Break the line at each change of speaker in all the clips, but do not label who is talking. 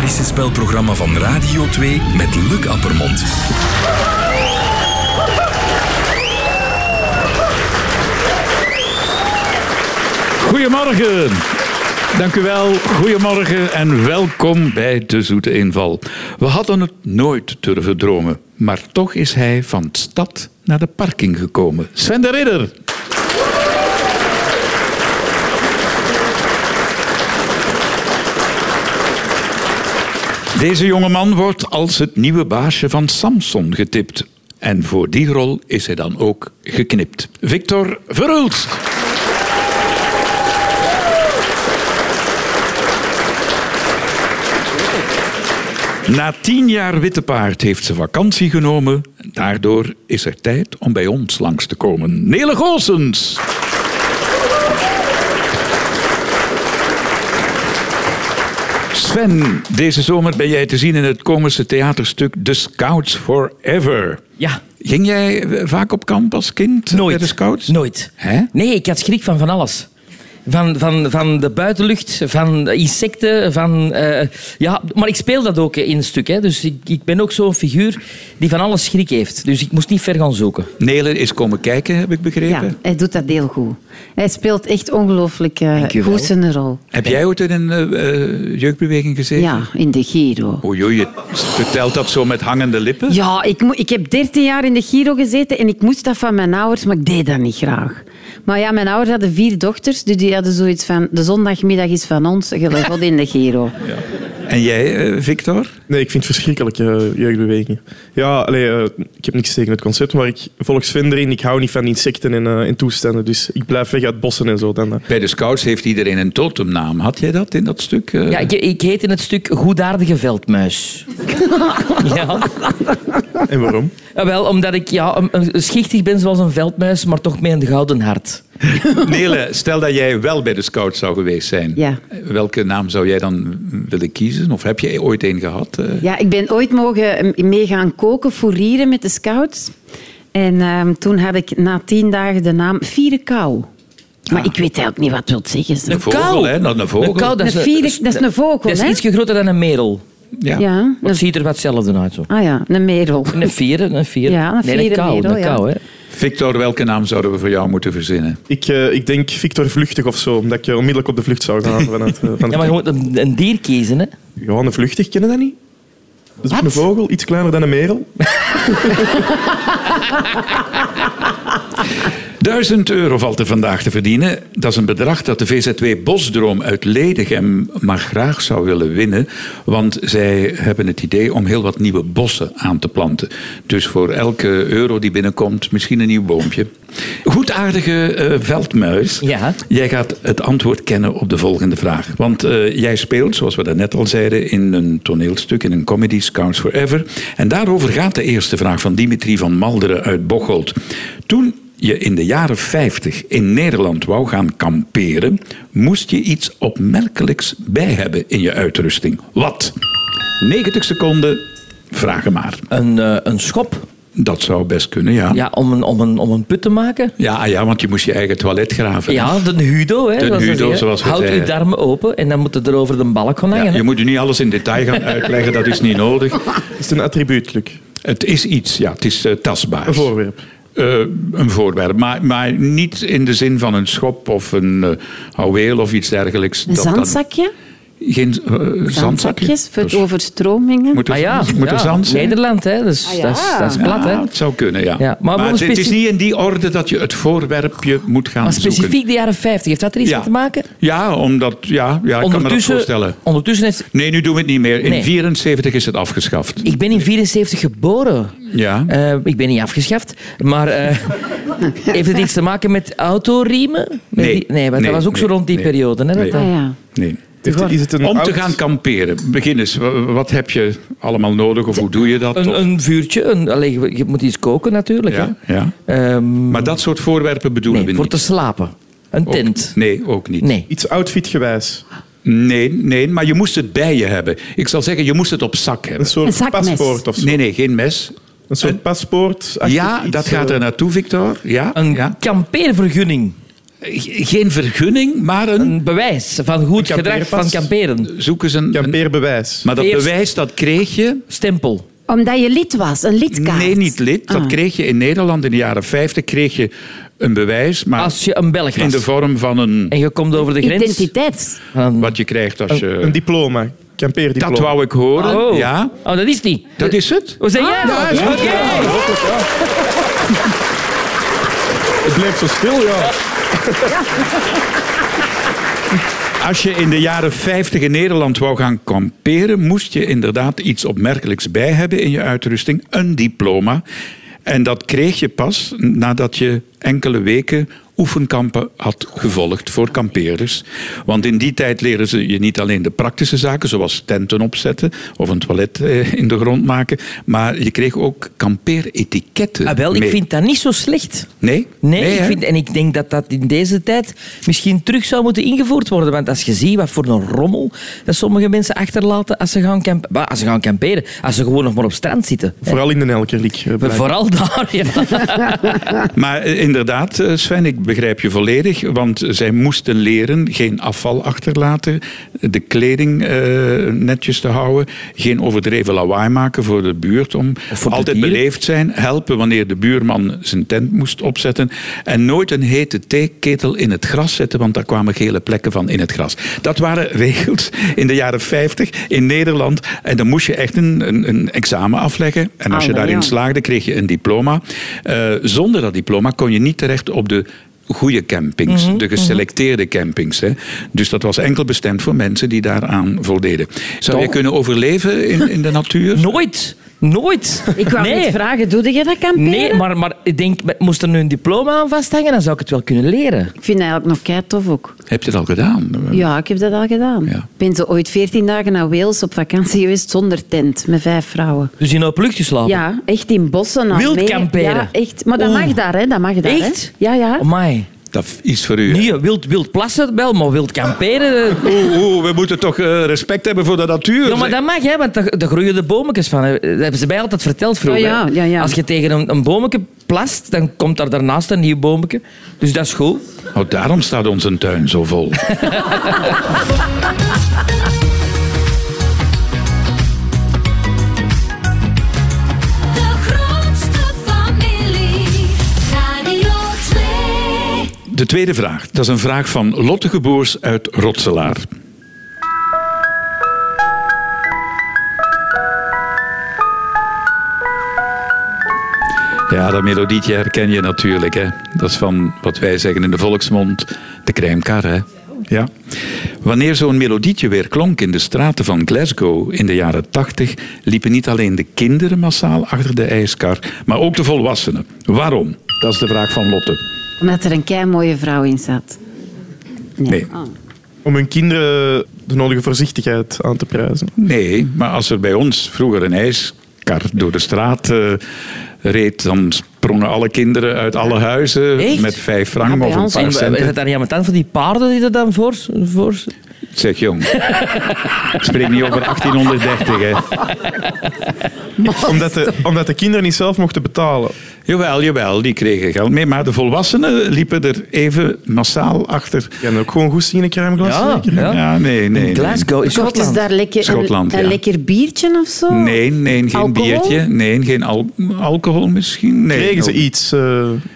hoorspelprogramma van Radio 2 met Luc Appermond.
Goedemorgen. Dank u wel. Goedemorgen en welkom bij De Zoete Inval. We hadden het nooit durven dromen, maar toch is hij van de stad naar de parking gekomen. Sven de Ridder. Deze jongeman wordt als het nieuwe baasje van Samson getipt. En voor die rol is hij dan ook geknipt. Victor Verhulst. Na tien jaar Witte Paard heeft ze vakantie genomen. Daardoor is er tijd om bij ons langs te komen. Nele Goossens. Sven, deze zomer ben jij te zien in het komische theaterstuk The Scouts Forever.
Ja,
Ging jij eh, vaak op kamp als kind eh,
nooit.
bij de Scouts?
Nooit.
Hè?
Nee, ik had schrik van van alles. Van, van, van de buitenlucht, van insecten, van... eh, ja, maar ik speel dat ook in een stuk. Hè. Dus ik, ik ben ook zo'n figuur die van alles schrik heeft. Dus ik moest niet ver gaan zoeken.
Nele is komen kijken, heb ik
Ja,
begrepen.
hij doet dat heel goed. Hij speelt echt ongelooflijk eh,
Dank u wel.
goed zijn rol.
Heb jij ooit in een eh, eh, jeugdbeweging gezeten?
Ja, in de Giro.
Oei, oei, je vertelt dat zo met hangende lippen.
Ja, ik, mo- ik heb 13 jaar in de Giro gezeten en ik moest dat van mijn ouders, maar ik deed dat niet graag. Maar ja, mijn ouders hadden vier dochters, dus die hadden zoiets van... De zondagmiddag is van ons, gelukkig God in de Giro.
En jij, eh, Victor?
Nee, ik vind het verschrikkelijk, eh, jeugdbeweging. Ja, allee, eh, ik heb niks tegen het concept, maar ik volg Sven erin. Ik hou niet van insecten en, eh, en toestanden, dus ik blijf weg uit bossen en zo. Dan, eh.
Bij de scouts heeft iedereen een totemnaam. Had jij dat in dat stuk? eh?
Ja, ik, ik heet in het stuk Goedaardige Veldmuis. ja.
En waarom?
Ja, Ah, Wel, omdat ik ja, een, een schichtig ben zoals een veldmuis, maar toch met een gouden hart.
Nele, stel dat jij wel bij de scouts zou geweest zijn.
Ja.
Welke naam zou jij dan willen kiezen? Of heb je ooit een gehad? Eh,
Ja, ik ben ooit mogen mee gaan koken, fourieren met de scouts. En ehm, toen had ik na tien dagen de naam Vieren Kou. Maar
Ah.
ik weet eigenlijk niet wat het wil zeggen.
Een vogel,
kou.
hè? Dat een vogel.
Een kou, dat, is
Een vier- dat is een vogel,
Dat is
hè?
iets groter dan een merel.
Ja.
Ja,
Dat
een,
ziet er wat hetzelfde uit. Zo.
ah ja, een merel.
Een vier, een vier.
Ja, een
nee,
vier,
een
een
kou.
merel,
een
ja.
kou hè.
Victor, welke naam zouden we voor jou moeten verzinnen?
Ik, eh, ik denk Victor Vluchtig of zo, omdat ik eh, onmiddellijk op de vlucht zou gaan. Vanuit, eh, van de-
Ja, maar je moet een, een dier kiezen. Hè.
Johan de Vluchtig, kennen dat niet? Dat is ook een vogel, iets kleiner dan een merel.
Duizend euro valt er vandaag te verdienen. Dat is een bedrag dat de VZW Bosdroom uit Ledegem maar graag zou willen winnen. Want zij hebben het idee om heel wat nieuwe bossen aan te planten. Dus voor elke euro die binnenkomt, misschien een nieuw boompje. Goedaardige eh veldmuis.
Ja.
Jij gaat het antwoord kennen op de volgende vraag. Want eh, jij speelt, zoals we daarnet al zeiden, in een toneelstuk, in een comedy, Scouts Forever. En daarover gaat de eerste vraag van Dimitri van Malderen uit Bocholt. Toen je in de jaren 50 in Nederland wou gaan kamperen, moest je iets opmerkelijks bij hebben in je uitrusting. Wat? 90 seconden, vragen maar.
Een, eh, een schop
Dat zou best kunnen, ja.
ja, om, een, om, een, om een put te maken.
Ja, ah ja, want je moest je eigen toilet graven.
Ja, de Hudo. Hè,
De
zoals ze
Hudo,
zeggen.
zoals we
Houd
zeggen.
uw darmen open en dan moet het er over de balk gaan hangen.
Ja,
hè.
je moet nu niet alles in detail gaan uitleggen, dat is niet nodig.
Is het een attribuut, Luc?
Het is iets, ja, het is eh, tastbaar.
Een voorwerp.
Eh, een voorwerp, maar, maar niet in de zin van een schop of een eh houweel of iets dergelijks.
Een
Dat dan-
zandzakje?
Geen eh, zandzakje.
Zandzakjes voor
Dus
het overstromingen.
Moet er,
Ah ja,
moet er
ja,
zand zijn?
Nederland, hè. Dus,
Ah ja.
dat, is, dat is plat, hè.
Ja, het zou kunnen, ja.
Ja,
maar
maar
het,
waarom
het is
specif-
niet in die orde dat je het voorwerpje moet gaan
Maar
zoeken.
specifiek de jaren 50, heeft dat er iets mee te maken?
Ja, omdat, ja, ja ik kan me dat voorstellen.
ondertussen heeft...
Nee, nu doen we het niet meer. In
Nee.
74 is het afgeschaft.
Ik ben in 74 geboren.
Ja.
Eh, ik ben niet afgeschaft, maar eh, heeft het iets te maken met autoriemen? Met
Nee.
die- nee, want
Nee,
dat was ook
nee,
zo rond die
nee.
periode. Hè, dat
Nee.
dat-
Ah ja.
nee.
Heeft- is het een
Om te
oud-
gaan kamperen, begin eens. Wa- Wat heb je allemaal nodig of hoe doe je dat?
Een,
Of-
een vuurtje, een, allee, je- je moet iets koken natuurlijk.
ja,
Hè.
ja.
Ehm,
Maar dat soort voorwerpen bedoelen
nee,
we
voor
niet.
te slapen. Een
Ook-
tent.
nee, ook niet.
Nee.
Iets outfitgewijs.
nee, nee, maar je moest het bij je hebben. Ik zal zeggen, je moest het op zak
Een
hebben.
soort
Een zakmes.
paspoort of zo.
Nee, nee, geen mes.
Een soort paspoort. eh,
Ja, dat gaat er naartoe, Victor. Ja,
Een
ja.
kampeervergunning.
Geen vergunning, maar een...
Een bewijs van goed
Een
gedrag van
kampeerpas.
kamperen.
Zoek eens een... een-
Kampeerbewijs.
maar dat
Eerst-
bewijs, dat kreeg je...
Stempel.
Omdat je lid was, een lidkaart.
Nee, niet lid. Dat
Ah.
kreeg je in Nederland in de jaren 50 kreeg je een bewijs, maar
Als je een Belg
Ah. in
was.
de vorm van een...
En je komt over de grens.
Identiteit.
van-
Wat je krijgt als
Een
je...
diploma. Kampeerdiploma.
eh, Dat wou ik horen.
Oh.
Ja,
oh, dat is niet.
dat is het.
We zijn ja,
ja, is goed.
Oké.
Het bleef zo stil, ja.
Als je in de jaren 50 in Nederland wou gaan kamperen, moest je inderdaad iets opmerkelijks bij hebben in je uitrusting: een diploma. En dat kreeg je pas nadat je enkele weken oefenkampen had gevolgd voor kampeerders. Want in die tijd leren ze je niet alleen de praktische zaken, zoals tenten opzetten of een toilet eh, in de grond maken, maar je kreeg ook kampeeretiketten.
Ah, wel, ik
mee.
vind dat niet zo slecht.
Nee?
Nee, ik
hè?
vind, en ik denk dat dat in deze tijd misschien terug zou moeten ingevoerd worden. Want als je ziet wat voor een rommel dat sommige mensen achterlaten als ze gaan, kamp bah, als ze gaan kamperen. Als ze gewoon nog maar op strand zitten.
Vooral in de Nelkerliek. eh, blijkt.
Vooral daar. Ja.
Maar eh, inderdaad, eh, Sven, ik begrijp je volledig. Want zij moesten leren geen afval achterlaten, de kleding eh, netjes te houden, geen overdreven lawaai maken voor de buurt, om
voor de
altijd
dieren.
beleefd zijn, helpen wanneer de buurman zijn tent moest opzetten en nooit een hete theeketel in het gras zetten, want daar kwamen gele plekken van in het gras. Dat waren regels in de jaren 50 in Nederland en dan moest je echt een, een, een examen afleggen. En als je
Allee,
daarin
ja.
slaagde, kreeg je een diploma. Eh, zonder dat diploma kon je niet terecht op de goede campings,
Mhm,
de geselecteerde campings. Hè. Dus dat was enkel bestemd voor mensen die daaraan voldeden. Zou je kunnen overleven in, in de natuur?
Nooit. Nooit.
Ik wou
nee.
net vragen, doe jij dat kamperen?
Nee, maar, maar ik denk, moest er nu een diploma aan vasthangen, dan zou ik het wel kunnen leren.
Ik vind dat eigenlijk nog kei tof ook.
Heb je het al gedaan? Eh,
Ja, ik heb dat al gedaan.
Ja.
Ik ben zo ooit 14 dagen naar Wales op vakantie geweest zonder tent, met vijf vrouwen.
Dus in openlucht geslapen.
Ja, echt in bossen. al
Wild
mee.
kamperen?
Ja, echt. Maar dat
Oeh.
mag daar, hè. Dat mag daar, hè.
Echt?
Ja, ja.
Amai.
Dat is voor u. hè?
Nee, wild, wild plassen wel, maar wild kamperen... eh,
Oeh, oeh, we moeten toch eh, respect hebben voor de natuur.
Ja, maar dat mag, hè, want daar daar groeien de bometjes van. hè. Dat hebben ze mij altijd verteld vroeger.
Oh, Ja, ja,
hè.
ja, ja.
Als je tegen een, een bometje plast, dan komt daar daarnaast een nieuw bometje. Dus dat is goed.
Oh, daarom staat onze tuin zo vol.
De grootste familie. Radio 2.
De tweede vraag. Dat is een vraag van Lotte Geboers uit Rotselaar. Ja, dat melodietje herken je natuurlijk. Hè? Dat is van wat wij zeggen in de volksmond, de crèmekar. Hè? Ja. Wanneer zo'n melodietje weer klonk in de straten van Glasgow in de jaren 80, liepen niet alleen de kinderen massaal achter de ijskar, maar ook de volwassenen. Waarom? Dat is de vraag van Lotte.
Omdat er een kei mooie vrouw in zat.
Nee.
Om hun kinderen de nodige voorzichtigheid aan te prijzen.
Nee, maar als er bij ons vroeger een ijskar door de straat eh, reed, dan sprongen alle kinderen uit alle huizen
Echt?
met vijf
Ja,
frank
bij
of een
ons
paar
ook.
En we- is
centen.
het dan niet aan het aan van die paarden die er dan voor... voor...
Zeg jong, ik spreek niet over 1830 hè.
Omdat de, omdat de kinderen niet zelf mochten betalen.
Jawel, jawel, die kregen geld mee, maar de volwassenen liepen er even massaal achter.
Die hebben ook gewoon goed in een crèmeglas.
Ja,
zeker?
ja.
Ja, nee, nee. nee.
Glasgow, in
Kochten ze
Schotland.
daar lekker,
Schotland,
een, een
ja.
lekker biertje of zo?
Nee, nee, geen
Alcohol?
biertje. Nee, geen al- alcohol misschien. Nee,
Kregen ze
no.
iets, eh,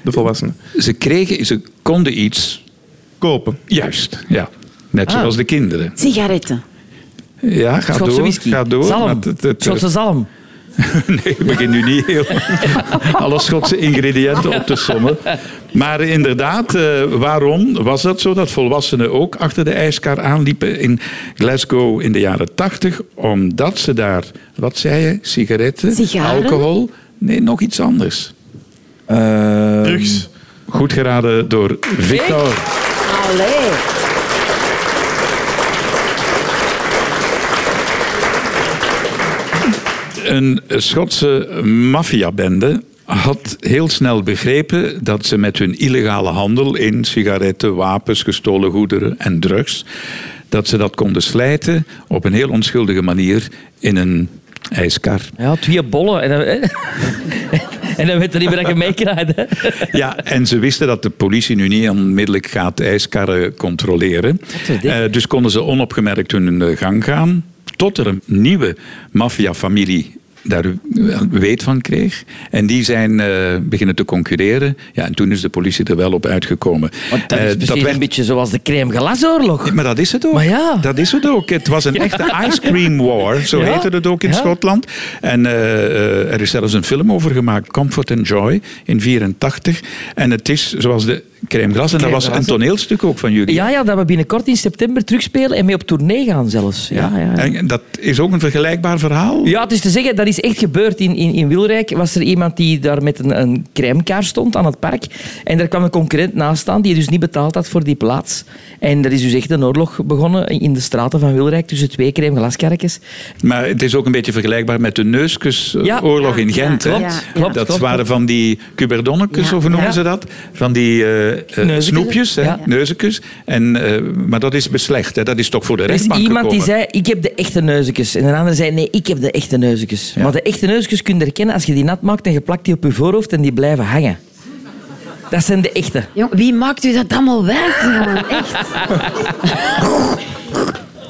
de volwassenen?
Ze kregen, ze konden iets.
Kopen.
Juist, ja. Net
Ah.
zoals de kinderen.
Sigaretten.
Ja, ga
Schotse
door.
whisky.
Ga door.
Zalm.
maar het- het-
Schotse zalm.
nee, ik begin nu niet heel alle Schotse ingrediënten op te sommen. Maar inderdaad, eh, waarom was dat zo dat volwassenen ook achter de ijskar aanliepen in Glasgow in de jaren tachtig? Omdat ze daar, wat zei je, sigaretten,
Sigaren?
alcohol, nee, nog iets anders.
Drugs.
Goed geraden door Victor.
Allee.
Een Schotse maffiabende had heel snel begrepen dat ze met hun illegale handel in sigaretten, wapens, gestolen goederen en drugs, dat ze dat konden slijten op een heel onschuldige manier in een ijskar.
Ja, twee bollen. En, dan- En dan weet je niet meer dat je meekrijgt. hè.
Ja, en ze wisten dat de politie nu niet onmiddellijk gaat ijskarren controleren.
een ding.
Eh, dus konden ze onopgemerkt hun eh, gang gaan. Tot er een nieuwe maffiafamilie daar eh, weet van kreeg. En die zijn eh, beginnen te concurreren. Ja, en toen is de politie er wel op uitgekomen.
Want dat
Eh,
is precies een
werd-
beetje zoals de crème glasoorlog.
maar dat is het ook.
Maar ja.
Dat is het ook. Het was een echte ice cream war. Zo
Ja.
heette het ook in
Ja.
Schotland. En eh, eh, er is zelfs een film over gemaakt. Comfort and Joy in 84. En het is zoals de crème glas. En dat
Crème
was een
glace.
toneelstuk ook van jullie.
Ja, ja, dat we binnenkort in september terugspelen en mee op tournee gaan zelfs. Ja, ja, ja.
En dat is ook een vergelijkbaar verhaal.
Ja, het is te zeggen, dat is echt gebeurd in, in, in Wilrijk. Was er iemand die daar met een, een crèmekaar stond aan het park. En daar kwam een concurrent naast staan die dus niet betaald had voor die plaats. En er is dus echt een oorlog begonnen in de straten van Wilrijk tussen twee crèmeglaskerkjes.
Maar het is ook een beetje vergelijkbaar met de
Ja.
neuskusoorlog in
Ja,
Gent.
ja,
hè?
klopt,
klopt,
dat
klopt,
waren
klopt.
van die cuberdonnekes,
Ja.
of hoe noemen
Ja.
ze dat? Van die eh, eh,
Neuzekes.
snoepjes, hè?
Ja.
neuzekes. En, eh, maar dat is beslecht. Hè? Dat is toch voor de
Er is
rechtbank
iemand die
gekomen.
zei, ik heb de echte neuzekes. En een ander zei, nee, ik heb de echte neuzekes. Maar de echte neuzekes kun je herkennen als je die nat maakt en je plakt die op je voorhoofd en die blijven hangen. Dat zijn de echte.
Jong, wie maakt u dat allemaal wijs, jongen? Echt.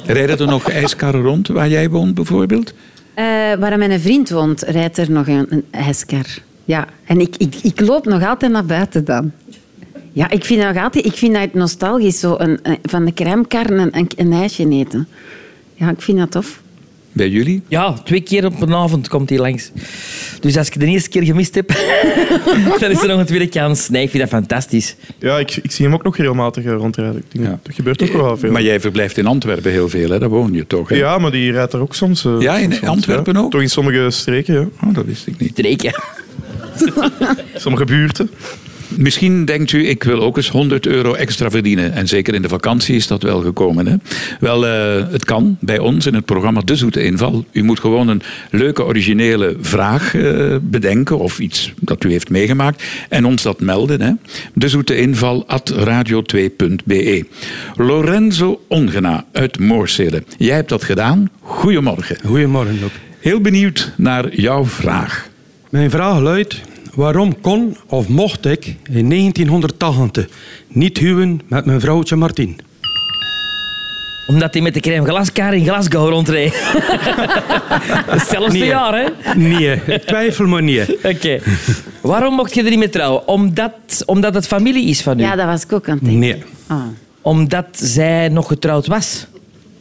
Rijden er nog ijskarren rond waar jij woont bijvoorbeeld?
Eh, waar mijn vriend woont, rijdt er nog een, een ijskar. Ja, en ik, ik, ik loop nog altijd naar buiten dan. Ja, ik vind dat, nog altijd, ik vind dat nostalgisch, zo een, een- van de crèmekar een, een, een ijsje eten. Ja, ik vind dat tof.
Bij jullie?
Ja, twee keer op een avond komt hij langs. Dus als ik de eerste keer gemist heb, dan is er nog een tweede kans. Nee, ik vind dat fantastisch.
Ja, ik, ik zie hem ook nog regelmatig eh, rondrijden. Ik denk,
Ja.
Dat gebeurt ook wel veel.
Maar jij verblijft in Antwerpen heel veel, hè? daar woon je toch? Hè?
ja, maar die rijdt er ook soms. eh,
Ja, in
soms,
Antwerpen
ja.
ook?
Toch in sommige streken, ja.
Oh, dat wist ik niet.
Dreken.
Sommige buurten.
Misschien denkt u, ik wil ook eens 100 euro extra verdienen. En zeker in de vakantie is dat wel gekomen. Hè? Wel, eh, het kan bij ons in het programma De Zoete Inval. U moet gewoon een leuke, originele vraag eh, bedenken. Of iets dat u heeft meegemaakt. En ons dat melden. Hè? De Zoete Inval at radio2.be. Lorenzo Ongena uit Moorsele. Jij hebt dat gedaan. Goedemorgen.
Goedemorgen ook.
Heel benieuwd naar jouw vraag.
Mijn vraag luidt: waarom kon of mocht ik in 1980 niet huwen met mijn vrouwtje Martien?
Omdat hij met de crème glaskaar in Glasgow rondreed. Hetzelfde
Nee.
jaar, hè?
Nee, ik twijfel maar niet.
Oké. Waarom mocht je er niet mee trouwen? Omdat, omdat het familie is van u.
Ja, dat was ik ook aan het denken.
Nee,
Ah.
Omdat zij nog getrouwd was.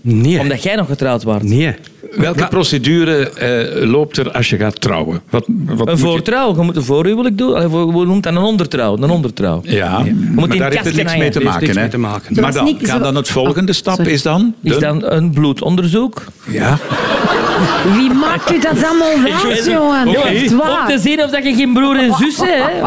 nee,
Omdat jij nog getrouwd was.
nee.
Welke procedure eh, loopt er als je gaat trouwen? Wat, wat
Een
moet je-
voortrouw. Je moet een voorhuwelijk doen. Allee, voor- Hoe noemt dat? Een ondertrouw. Een ondertrouw.
Ja, maar
in
daar heeft
kasten
het niks
hangen.
mee te
Heeft
maken.
niks
hè?
mee te maken.
Dat
Maar
is
dan,
niet
kan
zo-
dan het volgende stap is dan?
Is
de-
dan een bloedonderzoek?
Ja.
Wie maakt u dat allemaal wijs, jongen? Echt
Om te
waar.
zien of dat je geen broer en zus hebt.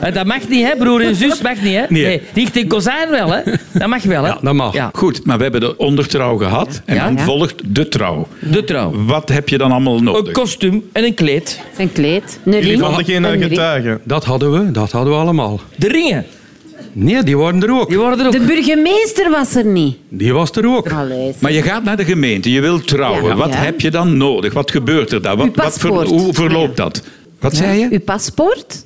hè. Dat mag niet, hè? Broer en zus mag niet, hè?
Nee.
Nicht en kozijn wel, hè? Dat mag wel, hè?
Ja, dat mag.
Ja.
Goed, maar we hebben de ondertrouw gehad. En
Ja.
dan
Ja.
volgt de trouw.
De trouw.
Wat heb je dan allemaal
Een
nodig?
kostuum en een kleed.
Zijn kleed, een
Jullie
ring.
hadden geen eh,
een ring.
getuigen.
Dat hadden we, dat hadden we allemaal.
De ringen.
Nee, die waren er ook.
Die worden er ook.
De burgemeester was er niet.
Die was er ook.
Allee.
Maar je gaat naar de gemeente, je wilt trouwen.
Ja.
Wat
Ja.
heb je dan nodig? Wat gebeurt er daar? Wat,
Uw
wat ver-
paspoort.
hoe verloopt dat? Wat zei je?
Uw paspoort?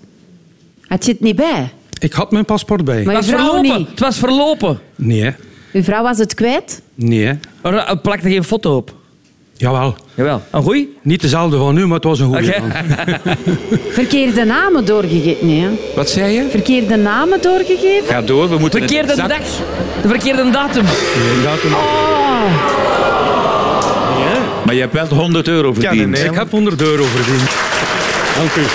Had je het niet bij?
Ik had mijn paspoort bij.
Maar-
Het was
je vrouw
verlopen.
niet.
Het was verlopen.
Nee,
Uw vrouw was het kwijt?
nee.
Er eh, plakte geen foto op.
Jawel,
Jawel. Een goeie?
niet dezelfde van nu, maar het was een goede.
Oké.
man.
Verkeerde namen doorgegeven? Nee, hè?
Wat zei je?
Verkeerde namen doorgegeven?
Ga door, we moeten...
Verkeerde
het-
dag. De verkeerde datum.
Inderdaad, een-
Maar je hebt wel 100 euro verdiend.
nee, nee.
Ik heb 100 euro verdiend. Dank u.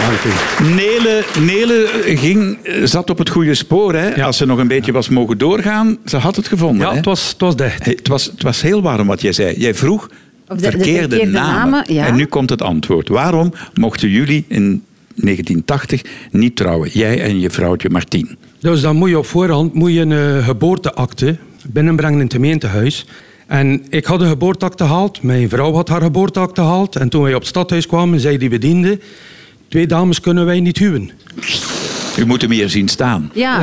Dank u.
Nele, Nele ging, eh, zat op het goede spoor. Hè?
Ja.
Als ze nog een beetje was mogen doorgaan, ze had het gevonden.
Ja,
hè?
het was, het was dicht.
Hey, Het was, het was heel warm wat jij zei. Jij vroeg
Of de- de
verkeerde,
verkeerde
namen.
namen, ja.
En nu komt het antwoord. Waarom mochten jullie in 1980 niet trouwen? Jij en je vrouwtje Martien.
Dus dan moet je op voorhand moet je een eh, geboorteakte binnenbrengen in het gemeentehuis. En ik had een geboorteakte gehaald, mijn vrouw had haar geboorteakte gehaald. En toen wij op het stadhuis kwamen, zei die bediende... Twee dames kunnen wij niet huwen.
U moet hem hier zien staan.
Ja.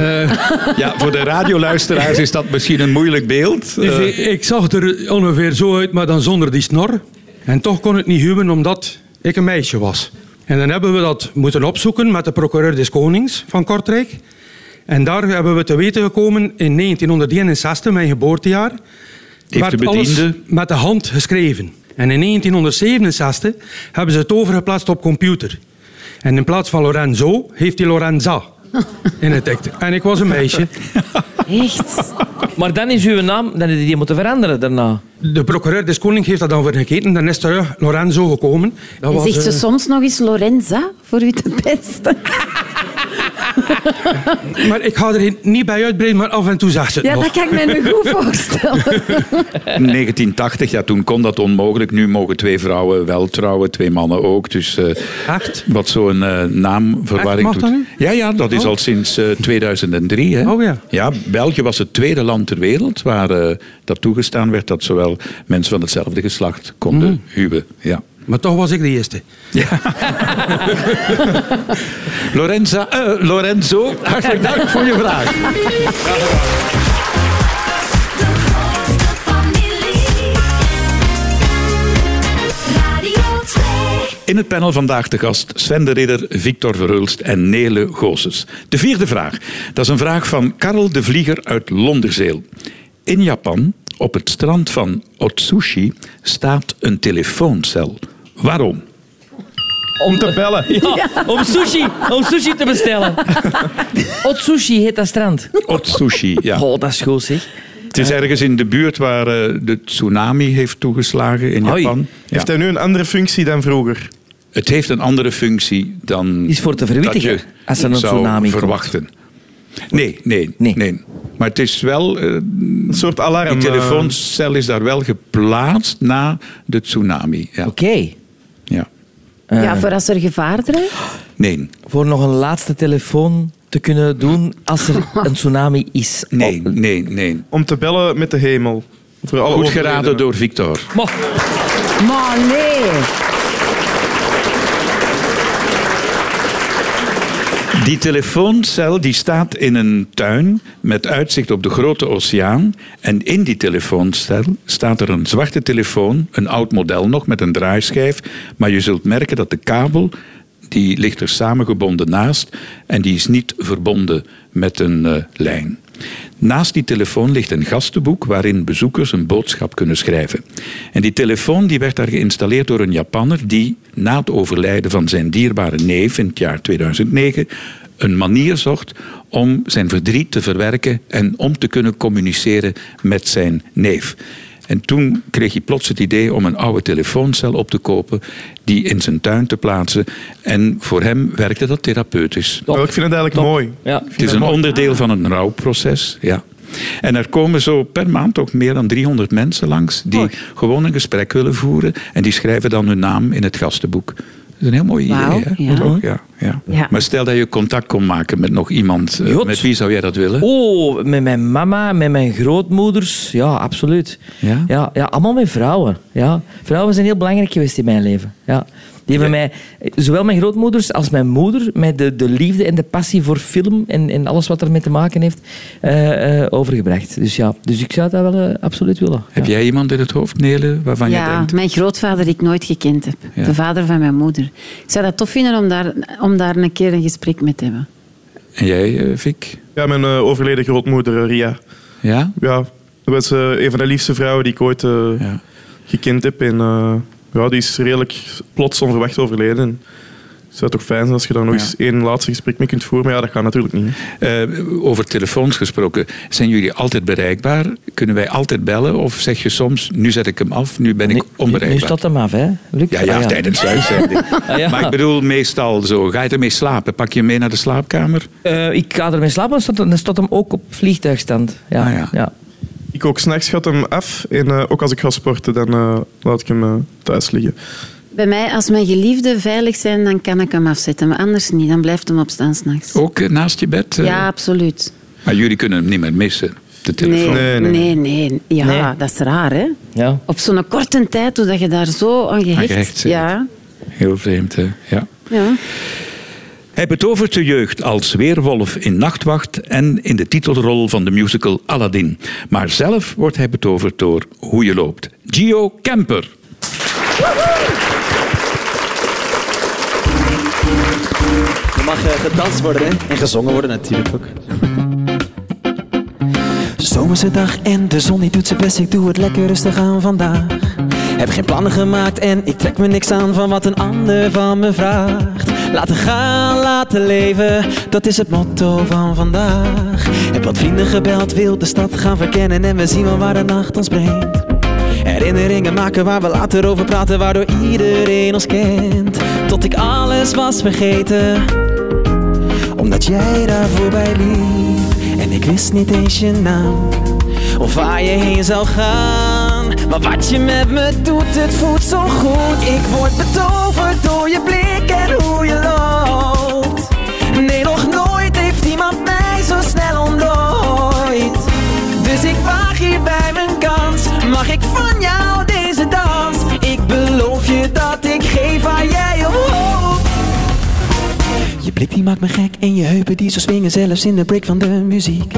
Ja, voor de radioluisteraars is dat misschien een moeilijk beeld.
Dus
Eh,
ik, ik zag er ongeveer zo uit, maar dan zonder die snor. En toch kon ik niet huwen, omdat ik een meisje was. En dan hebben we dat moeten opzoeken met de procureur des Konings van Kortrijk. En daar hebben we te weten gekomen in 1961, mijn geboortejaar,
Heeft de
werd alles
bediende-
met de hand geschreven. En in 1967 hebben ze het overgeplaatst op computer. En in plaats van Lorenzo heeft hij Lorenza in het echt. En ik was een meisje.
Echt?
Maar dan is uw naam, dan heb je die moeten veranderen daarna.
De procureur des koning heeft dat dan weer gekeken. Dan is terug Lorenzo gekomen. Dat
En zegt ze
eh,
soms nog eens Lorenza voor u te pesten?
Maar ik ga er niet bij uitbreiden, maar af en toe zegt ze het
Ja,
nog.
dat kan ik me nu goed voorstellen.
1980, ja, toen kon dat onmogelijk. Nu mogen twee vrouwen wel trouwen, twee mannen ook. Dus eh,
Echt?
wat zo'n eh,
Echt,
naamverwarring
mag
doet.
dat nu?
Ja, ja, dat is
Oh.
al sinds eh, 2003. Hè.
Oh, ja.
België was het tweede land ter wereld waar eh, dat toegestaan werd dat zowel mensen van hetzelfde geslacht konden
Hmm.
huwen. Ja.
Maar toch was ik de eerste.
Lorenza, eh, Lorenzo, hartelijk dank voor je vraag.
De grootste familie. Radio 2.
In het panel vandaag te gast Sven de Ridder, Victor Verhulst en Nele Goossens. De vierde vraag. Dat is een vraag van Karel de Vlieger uit Londerzeel. In Japan, op het strand van Otsushi, staat een telefooncel. Waarom?
Om te bellen.
Ja, om sushi, om sushi te bestellen. Otsushi heet dat strand.
Otsushi, ja.
Oh, dat is goed, zeg.
Het is ergens in de buurt waar eh, de tsunami heeft toegeslagen in
Hoi.
Japan. Ja.
Heeft hij nu een andere functie dan vroeger?
Het heeft een andere functie dan.
Is voor te verwittigen
dat je
als er een
zou
tsunami komt.
verwachten. Nee, nee,
Nee.
nee, Maar het is wel. eh,
Een soort alarm.
die
eh,
telefooncel is daar wel geplaatst na de tsunami. Ja.
Oké.
ja.
Ja, voor als er gevaar dreigt.
Nee,
Voor nog een laatste telefoon te kunnen doen als er een tsunami is.
nee, nee, nee.
om te bellen met de hemel. Voor alle
Goed
overledenen.
geraden door Victor.
Maar,
Maar nee.
Die telefooncel die staat in een tuin met uitzicht op de grote oceaan. En in die telefooncel staat er een zwarte telefoon, een oud model nog met een draaischijf. Maar je zult merken dat de kabel, die ligt er samengebonden naast en die is niet verbonden met een eh, lijn. Naast die telefoon ligt een gastenboek waarin bezoekers een boodschap kunnen schrijven. En die telefoon die werd daar geïnstalleerd door een Japanner die na het overlijden van zijn dierbare neef in het jaar 2009 een manier zocht om zijn verdriet te verwerken en om te kunnen communiceren met zijn neef. En toen kreeg hij plots het idee om een oude telefooncel op te kopen, die in zijn tuin te plaatsen. En voor hem werkte dat therapeutisch.
Oh, ik vind het eigenlijk mooi.
ja.
Het is een onderdeel van een rouwproces, ja. En er komen zo per maand ook meer dan 300 mensen langs die gewoon een gesprek willen voeren. En die schrijven dan hun naam in het gastenboek. Dat is een heel mooi
Wauw,
idee, hè?
ja.
Toch? Ja, ja.
Ja.
Maar stel dat je contact kon maken met nog iemand. eh,
Jot.
Met wie zou jij dat willen?
Oh, met mijn mama, met mijn grootmoeders. Ja, absoluut.
Ja?
Ja, ja, allemaal met vrouwen. Ja. Vrouwen zijn heel belangrijk geweest in mijn leven. Ja. Die hebben mij, zowel mijn grootmoeders als mijn moeder, met de, de liefde en de passie voor film en, en alles wat ermee te maken heeft, eh, eh, overgebracht. Dus ja, dus ik zou dat wel eh, absoluut willen.
Heb
ja.
jij iemand in het hoofd, Nele, waarvan je
Ja,
denkt...
mijn grootvader die ik nooit gekend heb.
Ja.
De vader van mijn moeder. Ik zou dat tof vinden om daar, om daar een keer een gesprek mee te hebben.
En jij, eh, Vic?
Ja, mijn eh, overleden grootmoeder, eh, Ria.
Ja?
Ja, dat was eh, een van de liefste vrouwen die ik ooit eh,
Ja.
gekend heb. En eh, ja, die is redelijk plots onverwacht overleden. En het zou toch fijn zijn als je daar nog
Ja.
eens één laatste gesprek mee kunt voeren. Maar ja, dat gaat natuurlijk niet. hè.
Eh, over telefoons gesproken, zijn jullie altijd bereikbaar? Kunnen wij altijd bellen? Of zeg je soms, nu zet ik hem af, nu ben ik
Nu, nu
onbereikbaar?
staat hem af, hè, Luc?
Ja, ja,
Ah,
tijdens de uitzending.
Ah, ja.
Maar ik bedoel meestal zo, ga je ermee slapen? Pak je hem mee naar de slaapkamer?
Eh, ik ga ermee slapen, maar staat- dan staat hem ook op vliegtuigstand. Ja,
Ah, ja.
ja.
Ik ook s'nachts gaat hem af. En eh, ook als ik ga sporten, dan eh, laat ik hem eh, thuis liggen.
Bij mij, als mijn geliefden veilig zijn, dan kan ik hem afzetten. Maar anders niet, dan blijft hem opstaan s'nachts.
Ook eh, naast je bed? eh?
Ja, absoluut.
Maar jullie kunnen hem niet meer missen, de telefoon.
Nee,
Nee,
nee,
nee,
nee. Ja,
Nee.
dat is raar, hè?
ja.
Op zo'n korte tijd, hoe dat je daar zo aan gehecht...
Aan gehecht zit.
ja.
Heel vreemd, hè? Ja.
ja.
Hij betovert de jeugd als weerwolf in Nachtwacht en in de titelrol van de musical Aladdin. Maar zelf wordt hij betoverd door Hoe je loopt. Gio Kemper.
Er mag eh, gedanst worden hè? en gezongen worden natuurlijk ook. Zomerse dag en de zon die doet zijn best, ik doe het lekker rustig aan vandaag. Heb geen plannen gemaakt en ik trek me niks aan van wat een ander van me vraagt. Laten gaan, laten leven, dat is het motto van vandaag. Heb wat vrienden gebeld, wil de stad gaan verkennen en we zien wel waar de nacht ons brengt. Herinneringen maken waar we later over praten, waardoor iedereen ons kent. Tot ik alles was vergeten, omdat jij daar voorbij liep. En ik wist niet eens je naam, of waar je heen zou gaan. Maar wat je met me doet, het voelt zo goed. Ik word betoverd door je blik en hoe je loopt. Nee, nog nooit heeft iemand mij zo snel ontdooid. Dus ik waag hier bij mijn kans. Mag ik van jou deze dans? Ik beloof je dat ik geef aan jij omhoog. Je blik die maakt me gek en je heupen die zo swingen zelfs in de break van de muziek.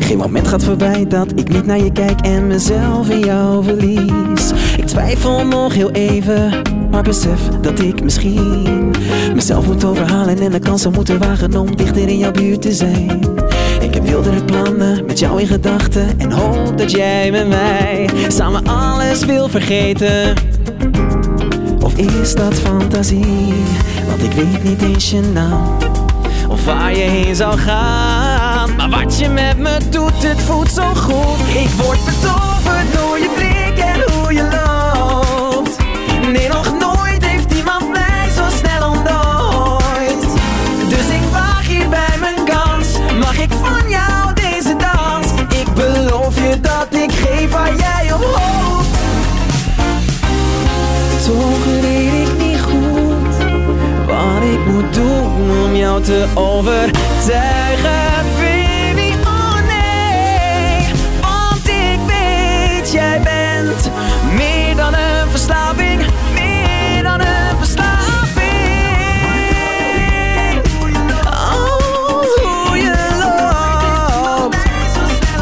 Geen moment gaat voorbij dat ik niet naar je kijk en mezelf in jou verlies. Ik twijfel nog heel even, maar besef dat ik misschien mezelf moet overhalen en de kans zou moeten wagen om dichter in jouw buurt te zijn. Ik heb wildere plannen met jou in gedachten en hoop dat jij met mij samen alles wil vergeten. Of is dat fantasie? Want ik weet niet eens je naam Of waar je heen zou gaan Maar wat je met me doet, het voelt zo goed Ik word betoverd door je blik en hoe je loopt Nee, nog nooit heeft iemand mij zo snel ontdooid Dus ik waag hier bij mijn kans Mag ik van jou deze dans? Ik beloof je dat ik geef waar jij op hoopt toch weet ik niet goed wat ik moet doen om jou te overtuigen. Baby, oh nee, want ik weet jij bent meer dan een verslaving, meer dan een verslaving. Oh, hoe je loopt.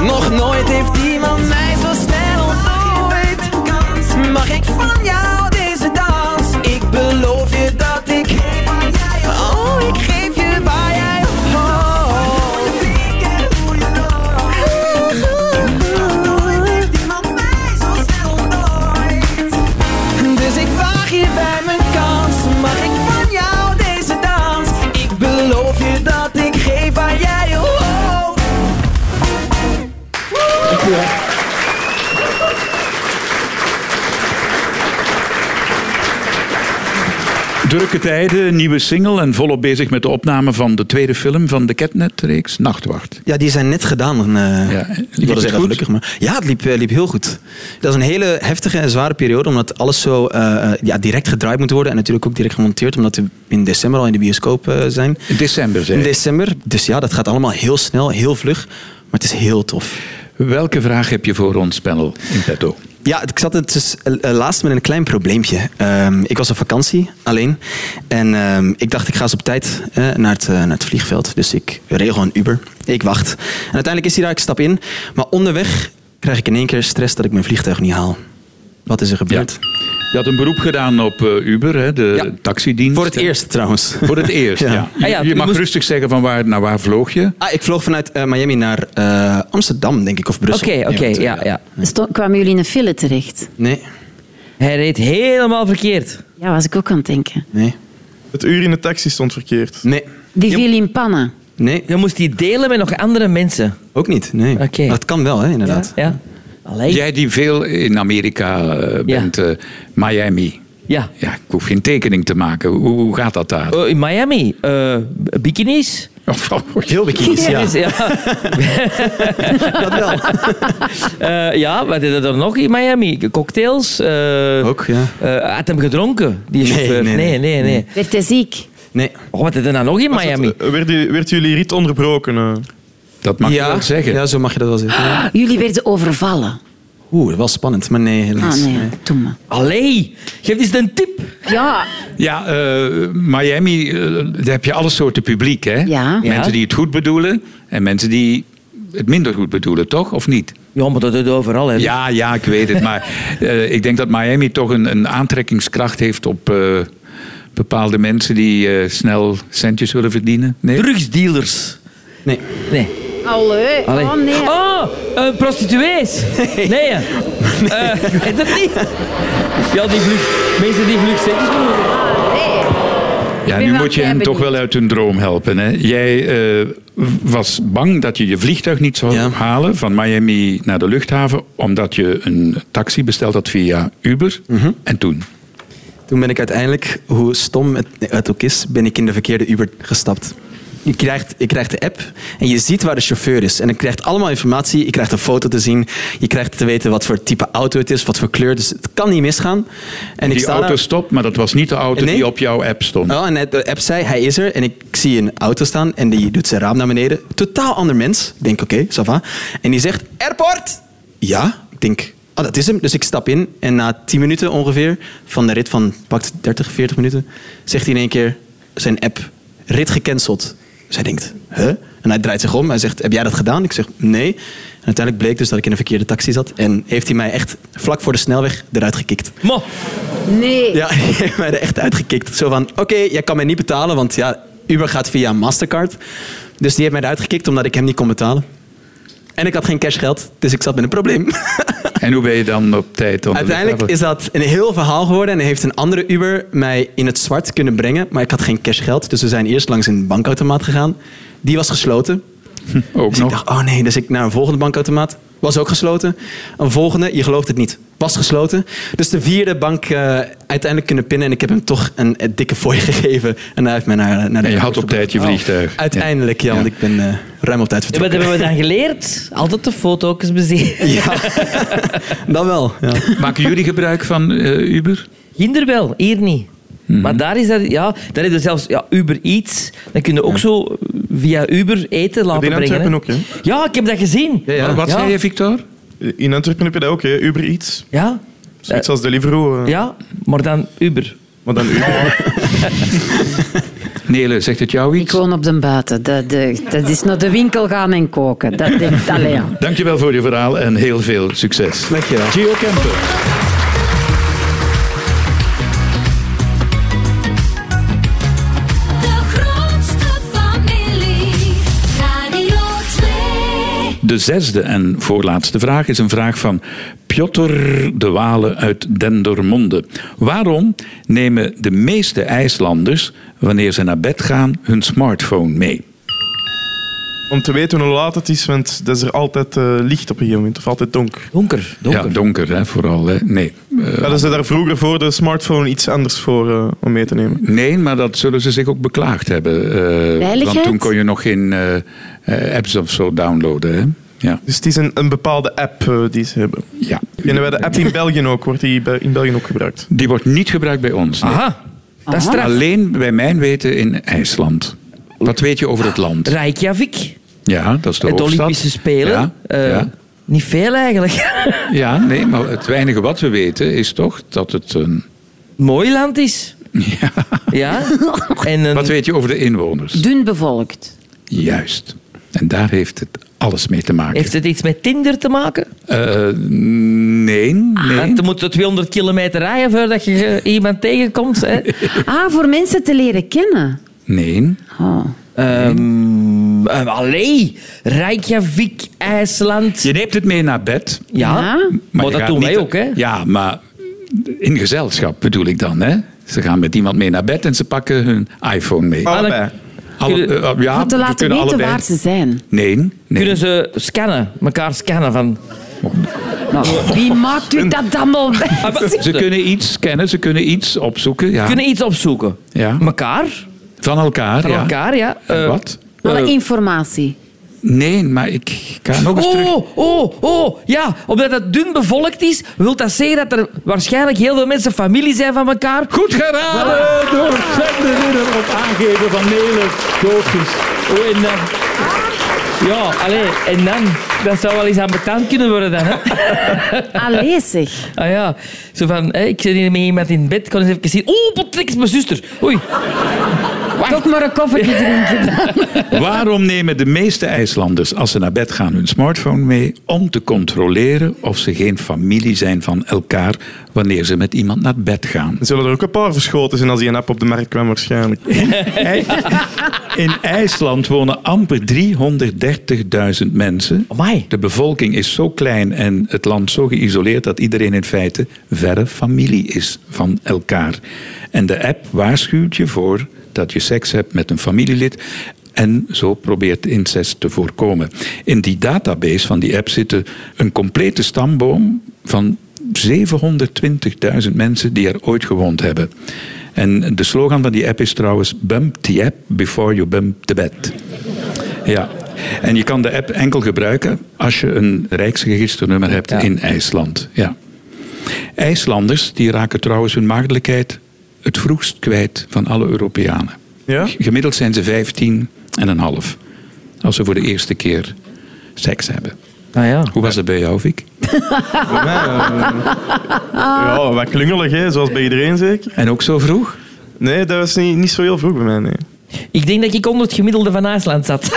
Nog nooit heeft iemand mij zo snel ontdooid. Mag ik van jou deze dans? Ik beloof je dat ik. Oh, ik geef je waar jij op hoopt. Dus ik waag hier bij mijn kans. Mag ik van jou deze dans? Ik beloof je dat ik geef waar jij Oh, op hoopt.
Drukke tijden, nieuwe single en volop bezig met de opname van de tweede film van de Catnet-reeks Nachtwacht.
Ja, die zijn net gedaan. En, eh,
Ja, liep
ik
het
wilde zeggen
goed?
gelukkig, maar ja, het liep, eh, liep heel goed. Dat is een hele heftige en zware periode, omdat alles zo eh, eh, ja, direct gedraaid moet worden. En natuurlijk ook direct gemonteerd, omdat we in december al in de bioscoop eh, zijn.
In december, zei
In
ik.
december. Dus ja, dat gaat allemaal heel snel, heel vlug. Maar het is heel tof.
Welke vraag heb je voor ons panel in petto?
Ja, ik zat het dus eh, eh, laatst met een klein probleempje. Ehm, ik was op vakantie, alleen. En ehm, ik dacht, ik ga eens op tijd eh, naar, het, eh, naar het vliegveld. Dus ik regel een Uber. Ik wacht. En uiteindelijk is hij daar, ik stap in. Maar onderweg krijg ik in één keer stress dat ik mijn vliegtuig niet haal. Wat is er gebeurd?
Je had een beroep gedaan op eh, Uber, hè, de
Ja.
taxidienst.
Voor het eerst trouwens.
Voor het eerst, ja.
Ja.
Je,
Ah ja,
je
je
mag
moest-
rustig zeggen van waar naar waar vloog je.
Ah, ik vloog vanuit eh, Miami naar eh, Amsterdam, denk ik, of
Dus-
Brussel.
Oké, oké,
want, eh,
ja, ja.
Sto- Dus kwamen jullie in een file terecht?
Nee,
Hij reed helemaal verkeerd.
Ja, was ik ook aan het denken.
nee,
Het uur in de taxi stond verkeerd.
nee,
Die viel in pannen.
nee,
Dan moest hij delen met nog andere mensen.
ook niet. Nee.
Oké.
Maar het kan wel, hè, inderdaad.
Ja. Allee.
Jij die veel in Amerika eh, bent, eh, Miami.
Ja.
Ja, ik hoef geen tekening te maken. Hoe, hoe gaat dat daar?
Oh.
Eh, in Miami, eh, bikinis.
Heel bikinis, ja.
Dus, ja.
Dat wel.
Eh, ja, wat is er nog in Miami? Cocktails. eh,
Ook, ja.
eh, had hem gedronken, die
Nee,
chauffeur?
nee, nee.
nee, nee. nee.
Werd hij ziek?
Nee.
Oh, wat is er dan nog in Miami?
Eh, Werd, u- werd jullie riet onderbroken? eh?
Dat mag je wel zeggen.
Ja, zo mag je dat wel zeggen. ja.
Jullie werden overvallen.
Oeh, dat was spannend, maar nee,
Ah
helaas.
nee,
Nee.
doe maar.
Allee, geef eens een tip.
Ja,
Ja, eh, Miami, eh, daar heb je alle soorten publiek, hè?
Ja.
Mensen
Ja.
die het goed bedoelen en mensen die het minder goed bedoelen, toch? Of niet?
Ja, maar dat doet overal. Hè.
Ja, ja, ik weet het. Maar eh, ik denk dat Miami toch een, een aantrekkingskracht heeft op eh, Bepaalde mensen die eh, snel centjes willen verdienen? Nee?
Drugsdealers.
Nee.
Nee.
Allee.
Allee.
Oh, nee.
Oh, eh, prostituees. Nee. nee. Eh, is dat niet? Ja, die vlucht. Mensen die vlucht seks doen.
Ja,
ben
nu
wel
moet je
blij
hem toch
benieuwd.
wel uit hun droom helpen. Hè? Jij eh, was bang dat je je vliegtuig niet zou
Ja.
halen van Miami naar de luchthaven, omdat je een taxi besteld had via Uber. En toen?
Toen ben Mhm. ik uiteindelijk, hoe stom het, het ook is, ben ik in de verkeerde Uber gestapt. Je krijgt, je krijgt de app en je ziet waar de chauffeur is. En je krijgt allemaal informatie. Je krijgt een foto te zien. Je krijgt te weten wat voor type auto het is, wat voor kleur. Dus het kan niet misgaan. En ik
die
sta
auto
daar-
stopt, maar dat was niet de auto
Nee.
die op jouw app stond.
Oh, en de app zei, hij is er. En ik zie een auto staan en die doet zijn raam naar beneden. Totaal ander mens. Ik denk, oké, ça va. En die zegt, airport! Ja, ik denk, oh, dat is hem. Dus ik stap in en na 10 minuten ongeveer van de rit van pakt 30, 40 minuten, zegt hij in één keer zijn app, rit gecanceld. Zij denkt, huh? En hij draait zich om. Hij zegt, heb jij dat gedaan? Ik zeg, nee. En uiteindelijk bleek dus dat ik in een verkeerde taxi zat. En heeft hij mij echt vlak voor de snelweg eruit gekikt.
Mo,
Nee.
Ja, die heeft mij er echt uitgekikt. Zo van, oké, jij kan mij niet betalen, want ja, Uber gaat via Mastercard. Dus die heeft mij eruit gekikt omdat ik hem niet kon betalen. En ik had geen cashgeld, dus ik zat met een probleem.
En hoe ben je dan op tijd? dan de
Uiteindelijk
luchthaven?
is dat een heel verhaal geworden en heeft een andere Uber mij in het zwart kunnen brengen. Maar ik had geen cashgeld, dus we zijn eerst langs een bankautomaat gegaan. Die was gesloten.
Hm, ook
Dus
nog.
ik dacht, oh nee, dus ik naar een volgende bankautomaat. Was ook gesloten. Een volgende, je gelooft het niet, was gesloten. Dus de vierde bank eh, uiteindelijk kunnen pinnen. En ik heb hem toch een, eh, dikke fooi gegeven. En hij heeft mij naar, naar de
En je had
airport
op tijd je
gebracht.
vliegtuig.
Oh, uiteindelijk, ja,
Ja.
want ik ben eh, ruim op tijd
wat
vertrokken.
hebben we dan geleerd? Altijd de foto's bezien.
Ja, dat wel. Ja.
Maken jullie gebruik van eh, Uber?
Ginder wel, hier niet. Maar daar is dat, ja, daar heb je zelfs ja, Uber Eats. Dan kun je ook zo via Uber eten laten
in
brengen.
Antwerpen
hè.
ook, hè?
Ja, ik heb dat gezien. Ja,
Wat
Ja.
zei je, Victor?
In Antwerpen heb je dat ook, hè? Uber Eats.
ja,
Zoiets als Deliveroo. eh,
maar dan Uber.
Maar dan Uber.
Nele, zegt het jou
Ik
iets?
woon op de buiten. Dat, de, dat is naar de winkel gaan en koken. Dat denkt alleen ja.
Dankjewel voor je verhaal en heel veel succes.
Dankjewel.
Gio Kemper.
De grootste familie. Radio 2.
De zesde en voorlaatste vraag is een vraag van Piotr de Wale uit Dendermonde. Waarom nemen de meeste IJslanders, wanneer ze naar bed gaan, hun smartphone mee?
Om te weten hoe laat het is, want dat is er altijd eh, licht op een gegeven moment. Of altijd donker.
Donker, donker.
Ja, donker hè, vooral. Hè? Nee. Eh,
Hadden ze daar vroeger voor de smartphone iets anders voor eh, om mee te nemen?
nee, maar dat zullen ze zich ook beklaagd hebben. eh,
Veiligheid?
want toen kon je nog geen eh, eh, apps of zo downloaden. Hè? Ja.
Dus het is een, een bepaalde app eh, die ze hebben.
ja.
Kennen wij de app in België ook? Wordt die be- in België ook gebruikt?
Die wordt niet gebruikt bij ons. nee.
Aha, dat is
Aha.
straf.
Alleen bij mijn weten in IJsland. Wat weet je over het land?
Reykjavik,
Ja, dat is de
het
hoofdstad.
Olympische Spelen.
Ja,
Eh,
ja.
Niet veel eigenlijk.
Ja, nee, maar het weinige wat we weten is toch dat het een...
Mooi land is.
Ja.
Ja. En eh, een-
Wat weet je over de inwoners?
Dun bevolkt.
Juist. En daar heeft het alles mee te maken.
heeft het iets met Tinder te maken?
Eh, nee, nee.
Want Dan moet je 200 kilometer rijden voordat je eh, iemand tegenkomt. Hè.
Ah, voor mensen te leren kennen.
Nee.
Oh.
Ehm eh, allee, Reykjavik, IJsland.
Je neemt het mee naar bed.
Ja,
Ja.
maar,
je
dat
gaat
doen
niet-
wij ook, hè?
Ja, maar in gezelschap bedoel ik dan, hè. Ze gaan met iemand mee naar bed en ze pakken hun iPhone mee.
Allebei.
Alle- eh, ja,
Ah,
Om te
we kunnen
laten weten
allebei-
waar ze zijn.
Nee, nee.
Kunnen ze scannen, elkaar scannen van...
Nou, wie maakt u dat allemaal
Ah.
bij?
Ah, Ze kunnen iets scannen, ze kunnen iets opzoeken. Ja.
kunnen iets opzoeken.
Ja.
Mekaar,
Van elkaar,
van
ja.
elkaar, ja.
En
Eh,
wat?
Alle informatie.
Nee, maar ik ga nog eens terug.
Oh, oh, oh, ja. Omdat het dun bevolkt is, wil dat zeggen dat er waarschijnlijk heel veel mensen familie zijn van elkaar.
Goed geraden Eh, door Sven de Ridder op aangeven van Nelen Koopjes.
Oh, en dan... Ja, allee, en dan... Dat zou wel eens aan betaald kunnen worden dan, hè?
Allee zeg.
Ah ja, Oh, zo van, hè, ik zit hier met iemand in bed, kan eens even zien. Oeh, potverdikke, het is mijn zuster. Oei.
Toch maar een koffertje drinken.
Waarom nemen de meeste IJslanders als ze naar bed gaan hun smartphone mee om te controleren of ze geen familie zijn van elkaar wanneer ze met iemand naar bed gaan?
Er zullen er ook een paar verschoten zijn als die een app op de markt kwam waarschijnlijk.
Ij- In IJsland wonen amper 330.000 mensen.
Amai.
De bevolking is zo klein en het land zo geïsoleerd dat iedereen in feite verre familie is van elkaar. En de app waarschuwt je voor dat je seks hebt met een familielid. En zo probeert incest te voorkomen. In die database van die app zitten een complete stamboom van 720.000 mensen die er ooit gewoond hebben. En de slogan van die app is trouwens: Bump the app before you bump the bed. Ja. En je kan de app enkel gebruiken als je een rijksregisternummer hebt in IJsland. Ja. IJslanders die raken trouwens hun maagdelijkheid het vroegst kwijt van alle Europeanen.
Ja?
G- Gemiddeld zijn ze 15 en een half als ze voor de eerste keer seks hebben.
Ah ja.
Hoe was dat bij jou, Vic?
eh, Ja, wat klungelig, hè? zoals bij iedereen zeker.
En ook zo vroeg?
Nee, dat was niet, niet zo heel vroeg bij mij. Nee.
Ik denk dat ik onder het gemiddelde van IJsland zat.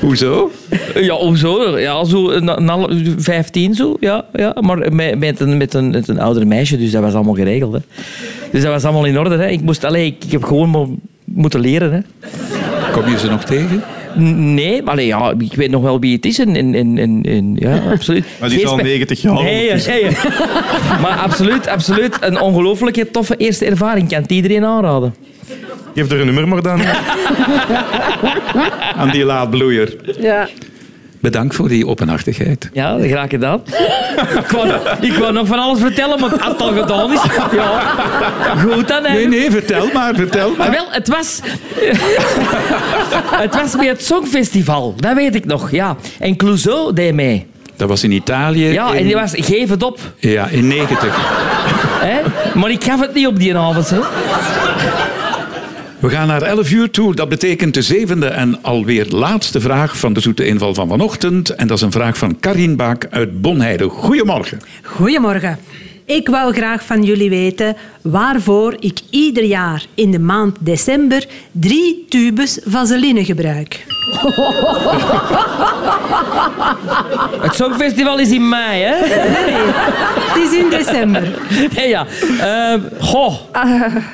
Hoezo?
Ja, of zo. Ja, zo een- een half- 15 zo. Ja, ja. Maar met, met, een, met, een, met een ouder meisje, dus dat was allemaal geregeld. Hè. Dus dat was allemaal in orde. Hè. Ik, moest, allee, ik, ik heb gewoon maar moeten leren. Hè.
Kom je ze nog tegen?
N- Nee, maar allee, ja, ik weet nog wel wie het is. En, en, en, en, en- ja, absoluut.
Maar die is
Geen
al
spe-
90 jaar.
Nee, ja,
ondertussen.
nee, ja. maar absoluut, absoluut. Een ongelooflijke toffe eerste ervaring. Ik kan het iedereen aanraden.
Geef er een nummer maar dan.
Aan die laadbloeier.
Ja.
Bedankt voor die openhartigheid.
Ja, graag gedaan. ik, wou, ik wou nog van alles vertellen, maar als het al gedaan is... Ja, goed dan
Nee,
eigenlijk.
nee, vertel maar, vertel
Maar
maar.
wel, het was... het was bij het Songfestival. Dat weet ik nog, ja. En Clouseau deed mee.
Dat was in Italië.
Ja,
in,
en die was... Geef het op.
Ja, in 90.
Hè? Maar ik gaf het niet op die avond, hè.
We gaan naar 11 uur toe. Dat betekent de zevende en alweer laatste vraag van de zoete inval van vanochtend. En dat is een vraag van Karin Baak uit Bonheide. Goedemorgen.
Goedemorgen. Ik wou graag van jullie weten waarvoor ik ieder jaar in de maand december drie tubes vaseline gebruik.
Het Songfestival is in mei, hè.
Het is in december.
Nee, ja. Ehm, goh.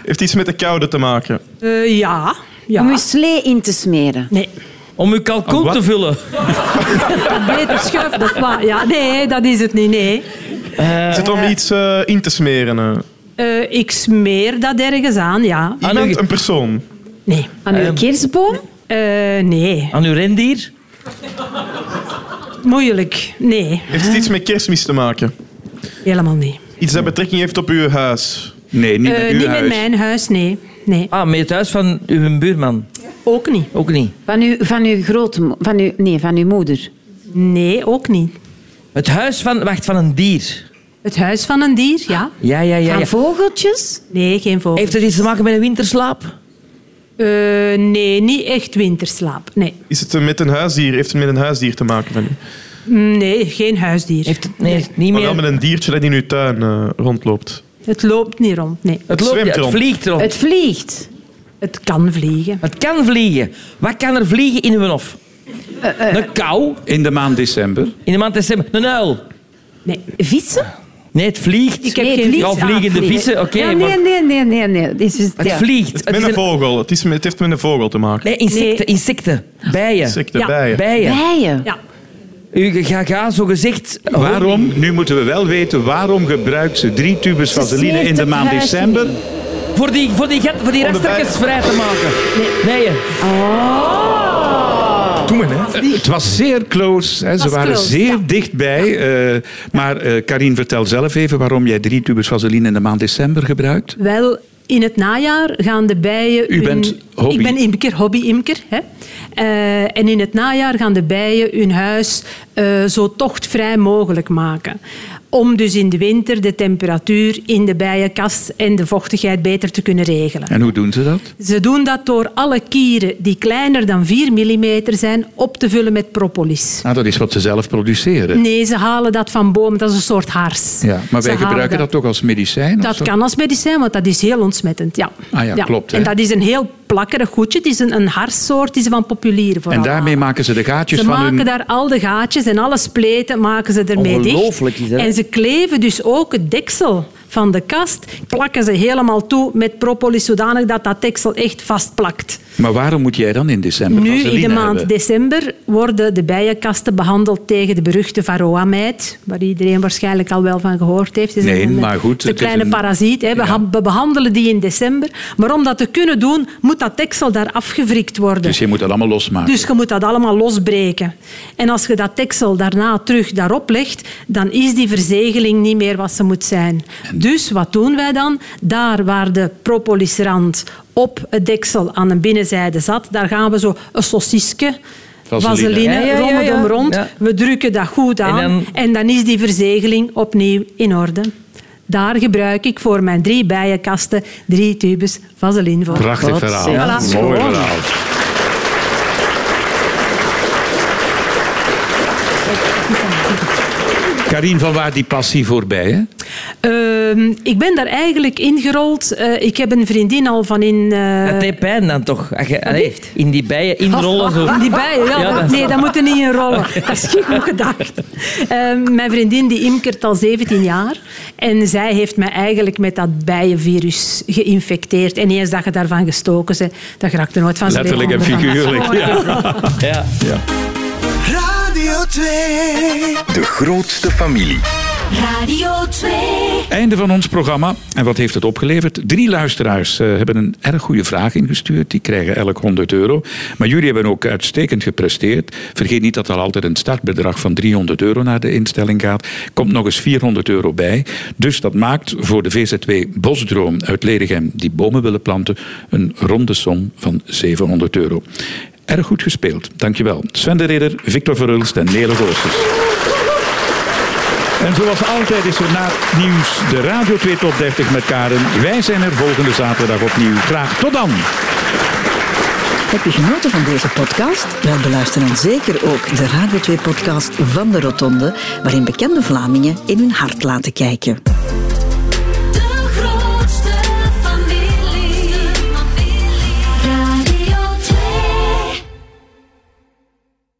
Heeft iets met de koude te maken.
Eh, ja. ja.
Om je slee in te smeren.
Nee,
Om uw kalkoen
Wat?
te vullen.
beter schuif, dat is waar. Ja, nee, dat is het niet, nee.
Is het om iets eh, in te smeren? eh?
Ah,
Eh, ik smeer dat ergens aan, ja.
Iemand, een persoon.
Nee.
Aan
Ehm.
uw kerstboom?
Eh, nee,
Aan uw rendier.
moeilijk. Nee,
Heeft het iets met kerstmis te maken?
helemaal niet.
Iets dat betrekking heeft op uw huis.
Nee, niet
Eh,
met uw
niet
huis.
met mijn huis, nee. Nee,
Ah, met het huis van uw buurman.
ook niet.
Ook niet.
Van uw, van uw grootmo... Van uw, nee, van uw moeder.
Nee, ook niet.
Het huis van... Wacht, van een dier.
Het huis van een dier, ja.
Ja, ja, ja.
Van
ja.
vogeltjes?
Nee, geen vogel.
Heeft het iets te maken met een winterslaap?
Eh, nee, niet echt winterslaap. Nee,
Is het eh, met een huisdier? Heeft het met een huisdier te maken? Van u?
Mm, nee geen huisdier.
Heeft het, nee, het niet
Maar wel
meer...
met een diertje dat in uw tuin eh, rondloopt.
Het loopt niet rond. Nee,
Het, loopt,
zwemt
ja, het
erom.
vliegt erom. Het...
Het vliegt.
het kan vliegen.
kan vliegen. Wat kan er vliegen in uw hof?
Eh,
Een kou
In de maand december.
Oh.
in de maand december. Een uil.
Nee,
Vissen?
Nee, het vliegt.
Ik heb
Nee, het
geen
vliegt.
Ja, vliegende
Ah,
vissen. Oké,
Ja,
maar
nee, nee, nee, nee. nee. Dit is,
het
ja.
vliegt. Het
Met
is
een
een-
vogel. Het, is, met- het heeft met een vogel te maken.
Nee, insecten. Insecten. Bijen.
Insecten,
Ja.
bijen.
Bijen.
Bijen.
ja.
U ga, ga zo gezegd... oh,
Waarom, nu moeten we wel weten, waarom gebruikt ze drie tubes vaseline
smeert
in de
het
maand
huis
december?
Voor die, voor die, gat- voor die
de
restrekjes vrij te maken. Nee. hè.
Doe maar, hè.
Het was zeer close. Hè. Ze
Was
waren
close,
zeer
ja.
dichtbij. eh, maar eh Karin, vertel zelf even waarom jij drie tubes vaseline in de maand december gebruikt.
Wel, in het najaar gaan de bijen...
U bent hobby-
Ik ben imker, hobby-imker. Hè? Eh, en in het najaar gaan de bijen hun huis eh, zo tochtvrij mogelijk maken. om dus in de winter de temperatuur in de bijenkast en de vochtigheid beter te kunnen regelen.
En hoe doen ze dat?
Ze doen dat door alle kieren die kleiner dan 4 mm zijn op te vullen met propolis.
Ah, dat is wat ze zelf produceren.
Nee, ze halen dat van bomen, dat is een soort hars.
Ja, maar
Ze
wij
halen
gebruiken dat toch als medicijn? of
Dat
zo?
kan als medicijn, want dat is heel ontsmettend. Ja.
Ah ja, klopt, hè?
En dat is een heel plakkerig goedje. Het is een, een harssoort die ze van populieren vooral
En daarmee
halen.
maken ze de gaatjes
Ze
van
maken
hun...
daar al de gaatjes en alle spleten maken ze ermee dicht.
Ongelooflijk is dat.
En ze kleven dus ook het deksel van de kast, plakken ze helemaal toe met propolis, zodanig dat dat deksel echt vastplakt.
Maar waarom moet jij dan in december
Nu, in
vaseline
de maand
hebben?
december, worden de bijenkasten behandeld tegen de beruchte varroamijt, waar iedereen waarschijnlijk al wel van gehoord heeft. Het is
Nee,
een-
maar goed,
het is
het
Een
is
kleine
een-
parasiet. Hè. We,
Ja.
ha- we behandelen die in december. Maar om dat te kunnen doen, moet dat deksel daar afgevrikt worden.
Dus je moet dat allemaal losmaken.
Dus je moet dat allemaal losbreken. En als je dat deksel daarna terug daarop legt, dan is die verzegeling niet meer wat ze moet zijn. Dus wat doen wij dan? Daar waar de propolisrand op het deksel aan de binnenzijde zat, daar gaan we zo een sausjesje,
Vaseline.
vaseline,
Ja, ja, ja,
rommel
ja.
hem rond.
Ja.
We drukken dat goed aan
En dan-
en dan... is die verzegeling opnieuw in orde. Daar gebruik ik voor mijn drie bijenkasten drie tubes vaseline voor.
Prachtig
Wat
verhaal.
zeg,
Ja,
dat is
Mooi
gewoon.
verhaal. Karin, van waar die passie voorbij? Hè?
Ehm, ik ben daar eigenlijk ingerold. Eh, ik heb een vriendin al van in... eh,
Dat deed pijn dan toch? Als je- allee, in die bijen inrollen. Zo.
oh, in die bijen, ja.
Ja, dat-
nee, dat moet er niet in rollen. Dat is geen goed gedacht. Ehm, mijn vriendin die imkert al 17 jaar. En zij heeft mij eigenlijk met dat bijenvirus geïnfecteerd. En eens dat je daarvan gestoken bent, dat raakt er nooit van. Ze
Letterlijk en
weet van-
figuurlijk. Ja.
Ja.
Radio 2. De grootste familie.
Radio 2.
Einde van ons programma. En wat heeft het opgeleverd? Drie luisteraars eh, hebben een erg goede vraag ingestuurd. Die krijgen elk 100 euro. Maar jullie hebben ook uitstekend gepresteerd. Vergeet niet dat er altijd een startbedrag van 300 euro naar de instelling gaat. Komt nog eens 400 euro bij. Dus dat maakt voor de VZW Bosdroom uit Ledegem, die bomen willen planten, een ronde som van 700 euro. Erg goed gespeeld. Dankjewel. Sven de Ridder, Victor Verhulst en Nele Goossens. En zoals altijd is er na het nieuws de Radio 2 Top 30 met Karen. Wij zijn er volgende zaterdag opnieuw. Graag tot dan.
Heb je genoten van deze podcast? Wel, beluister dan zeker ook de Radio 2-podcast van de Rotonde, waarin bekende Vlamingen in hun hart laten kijken.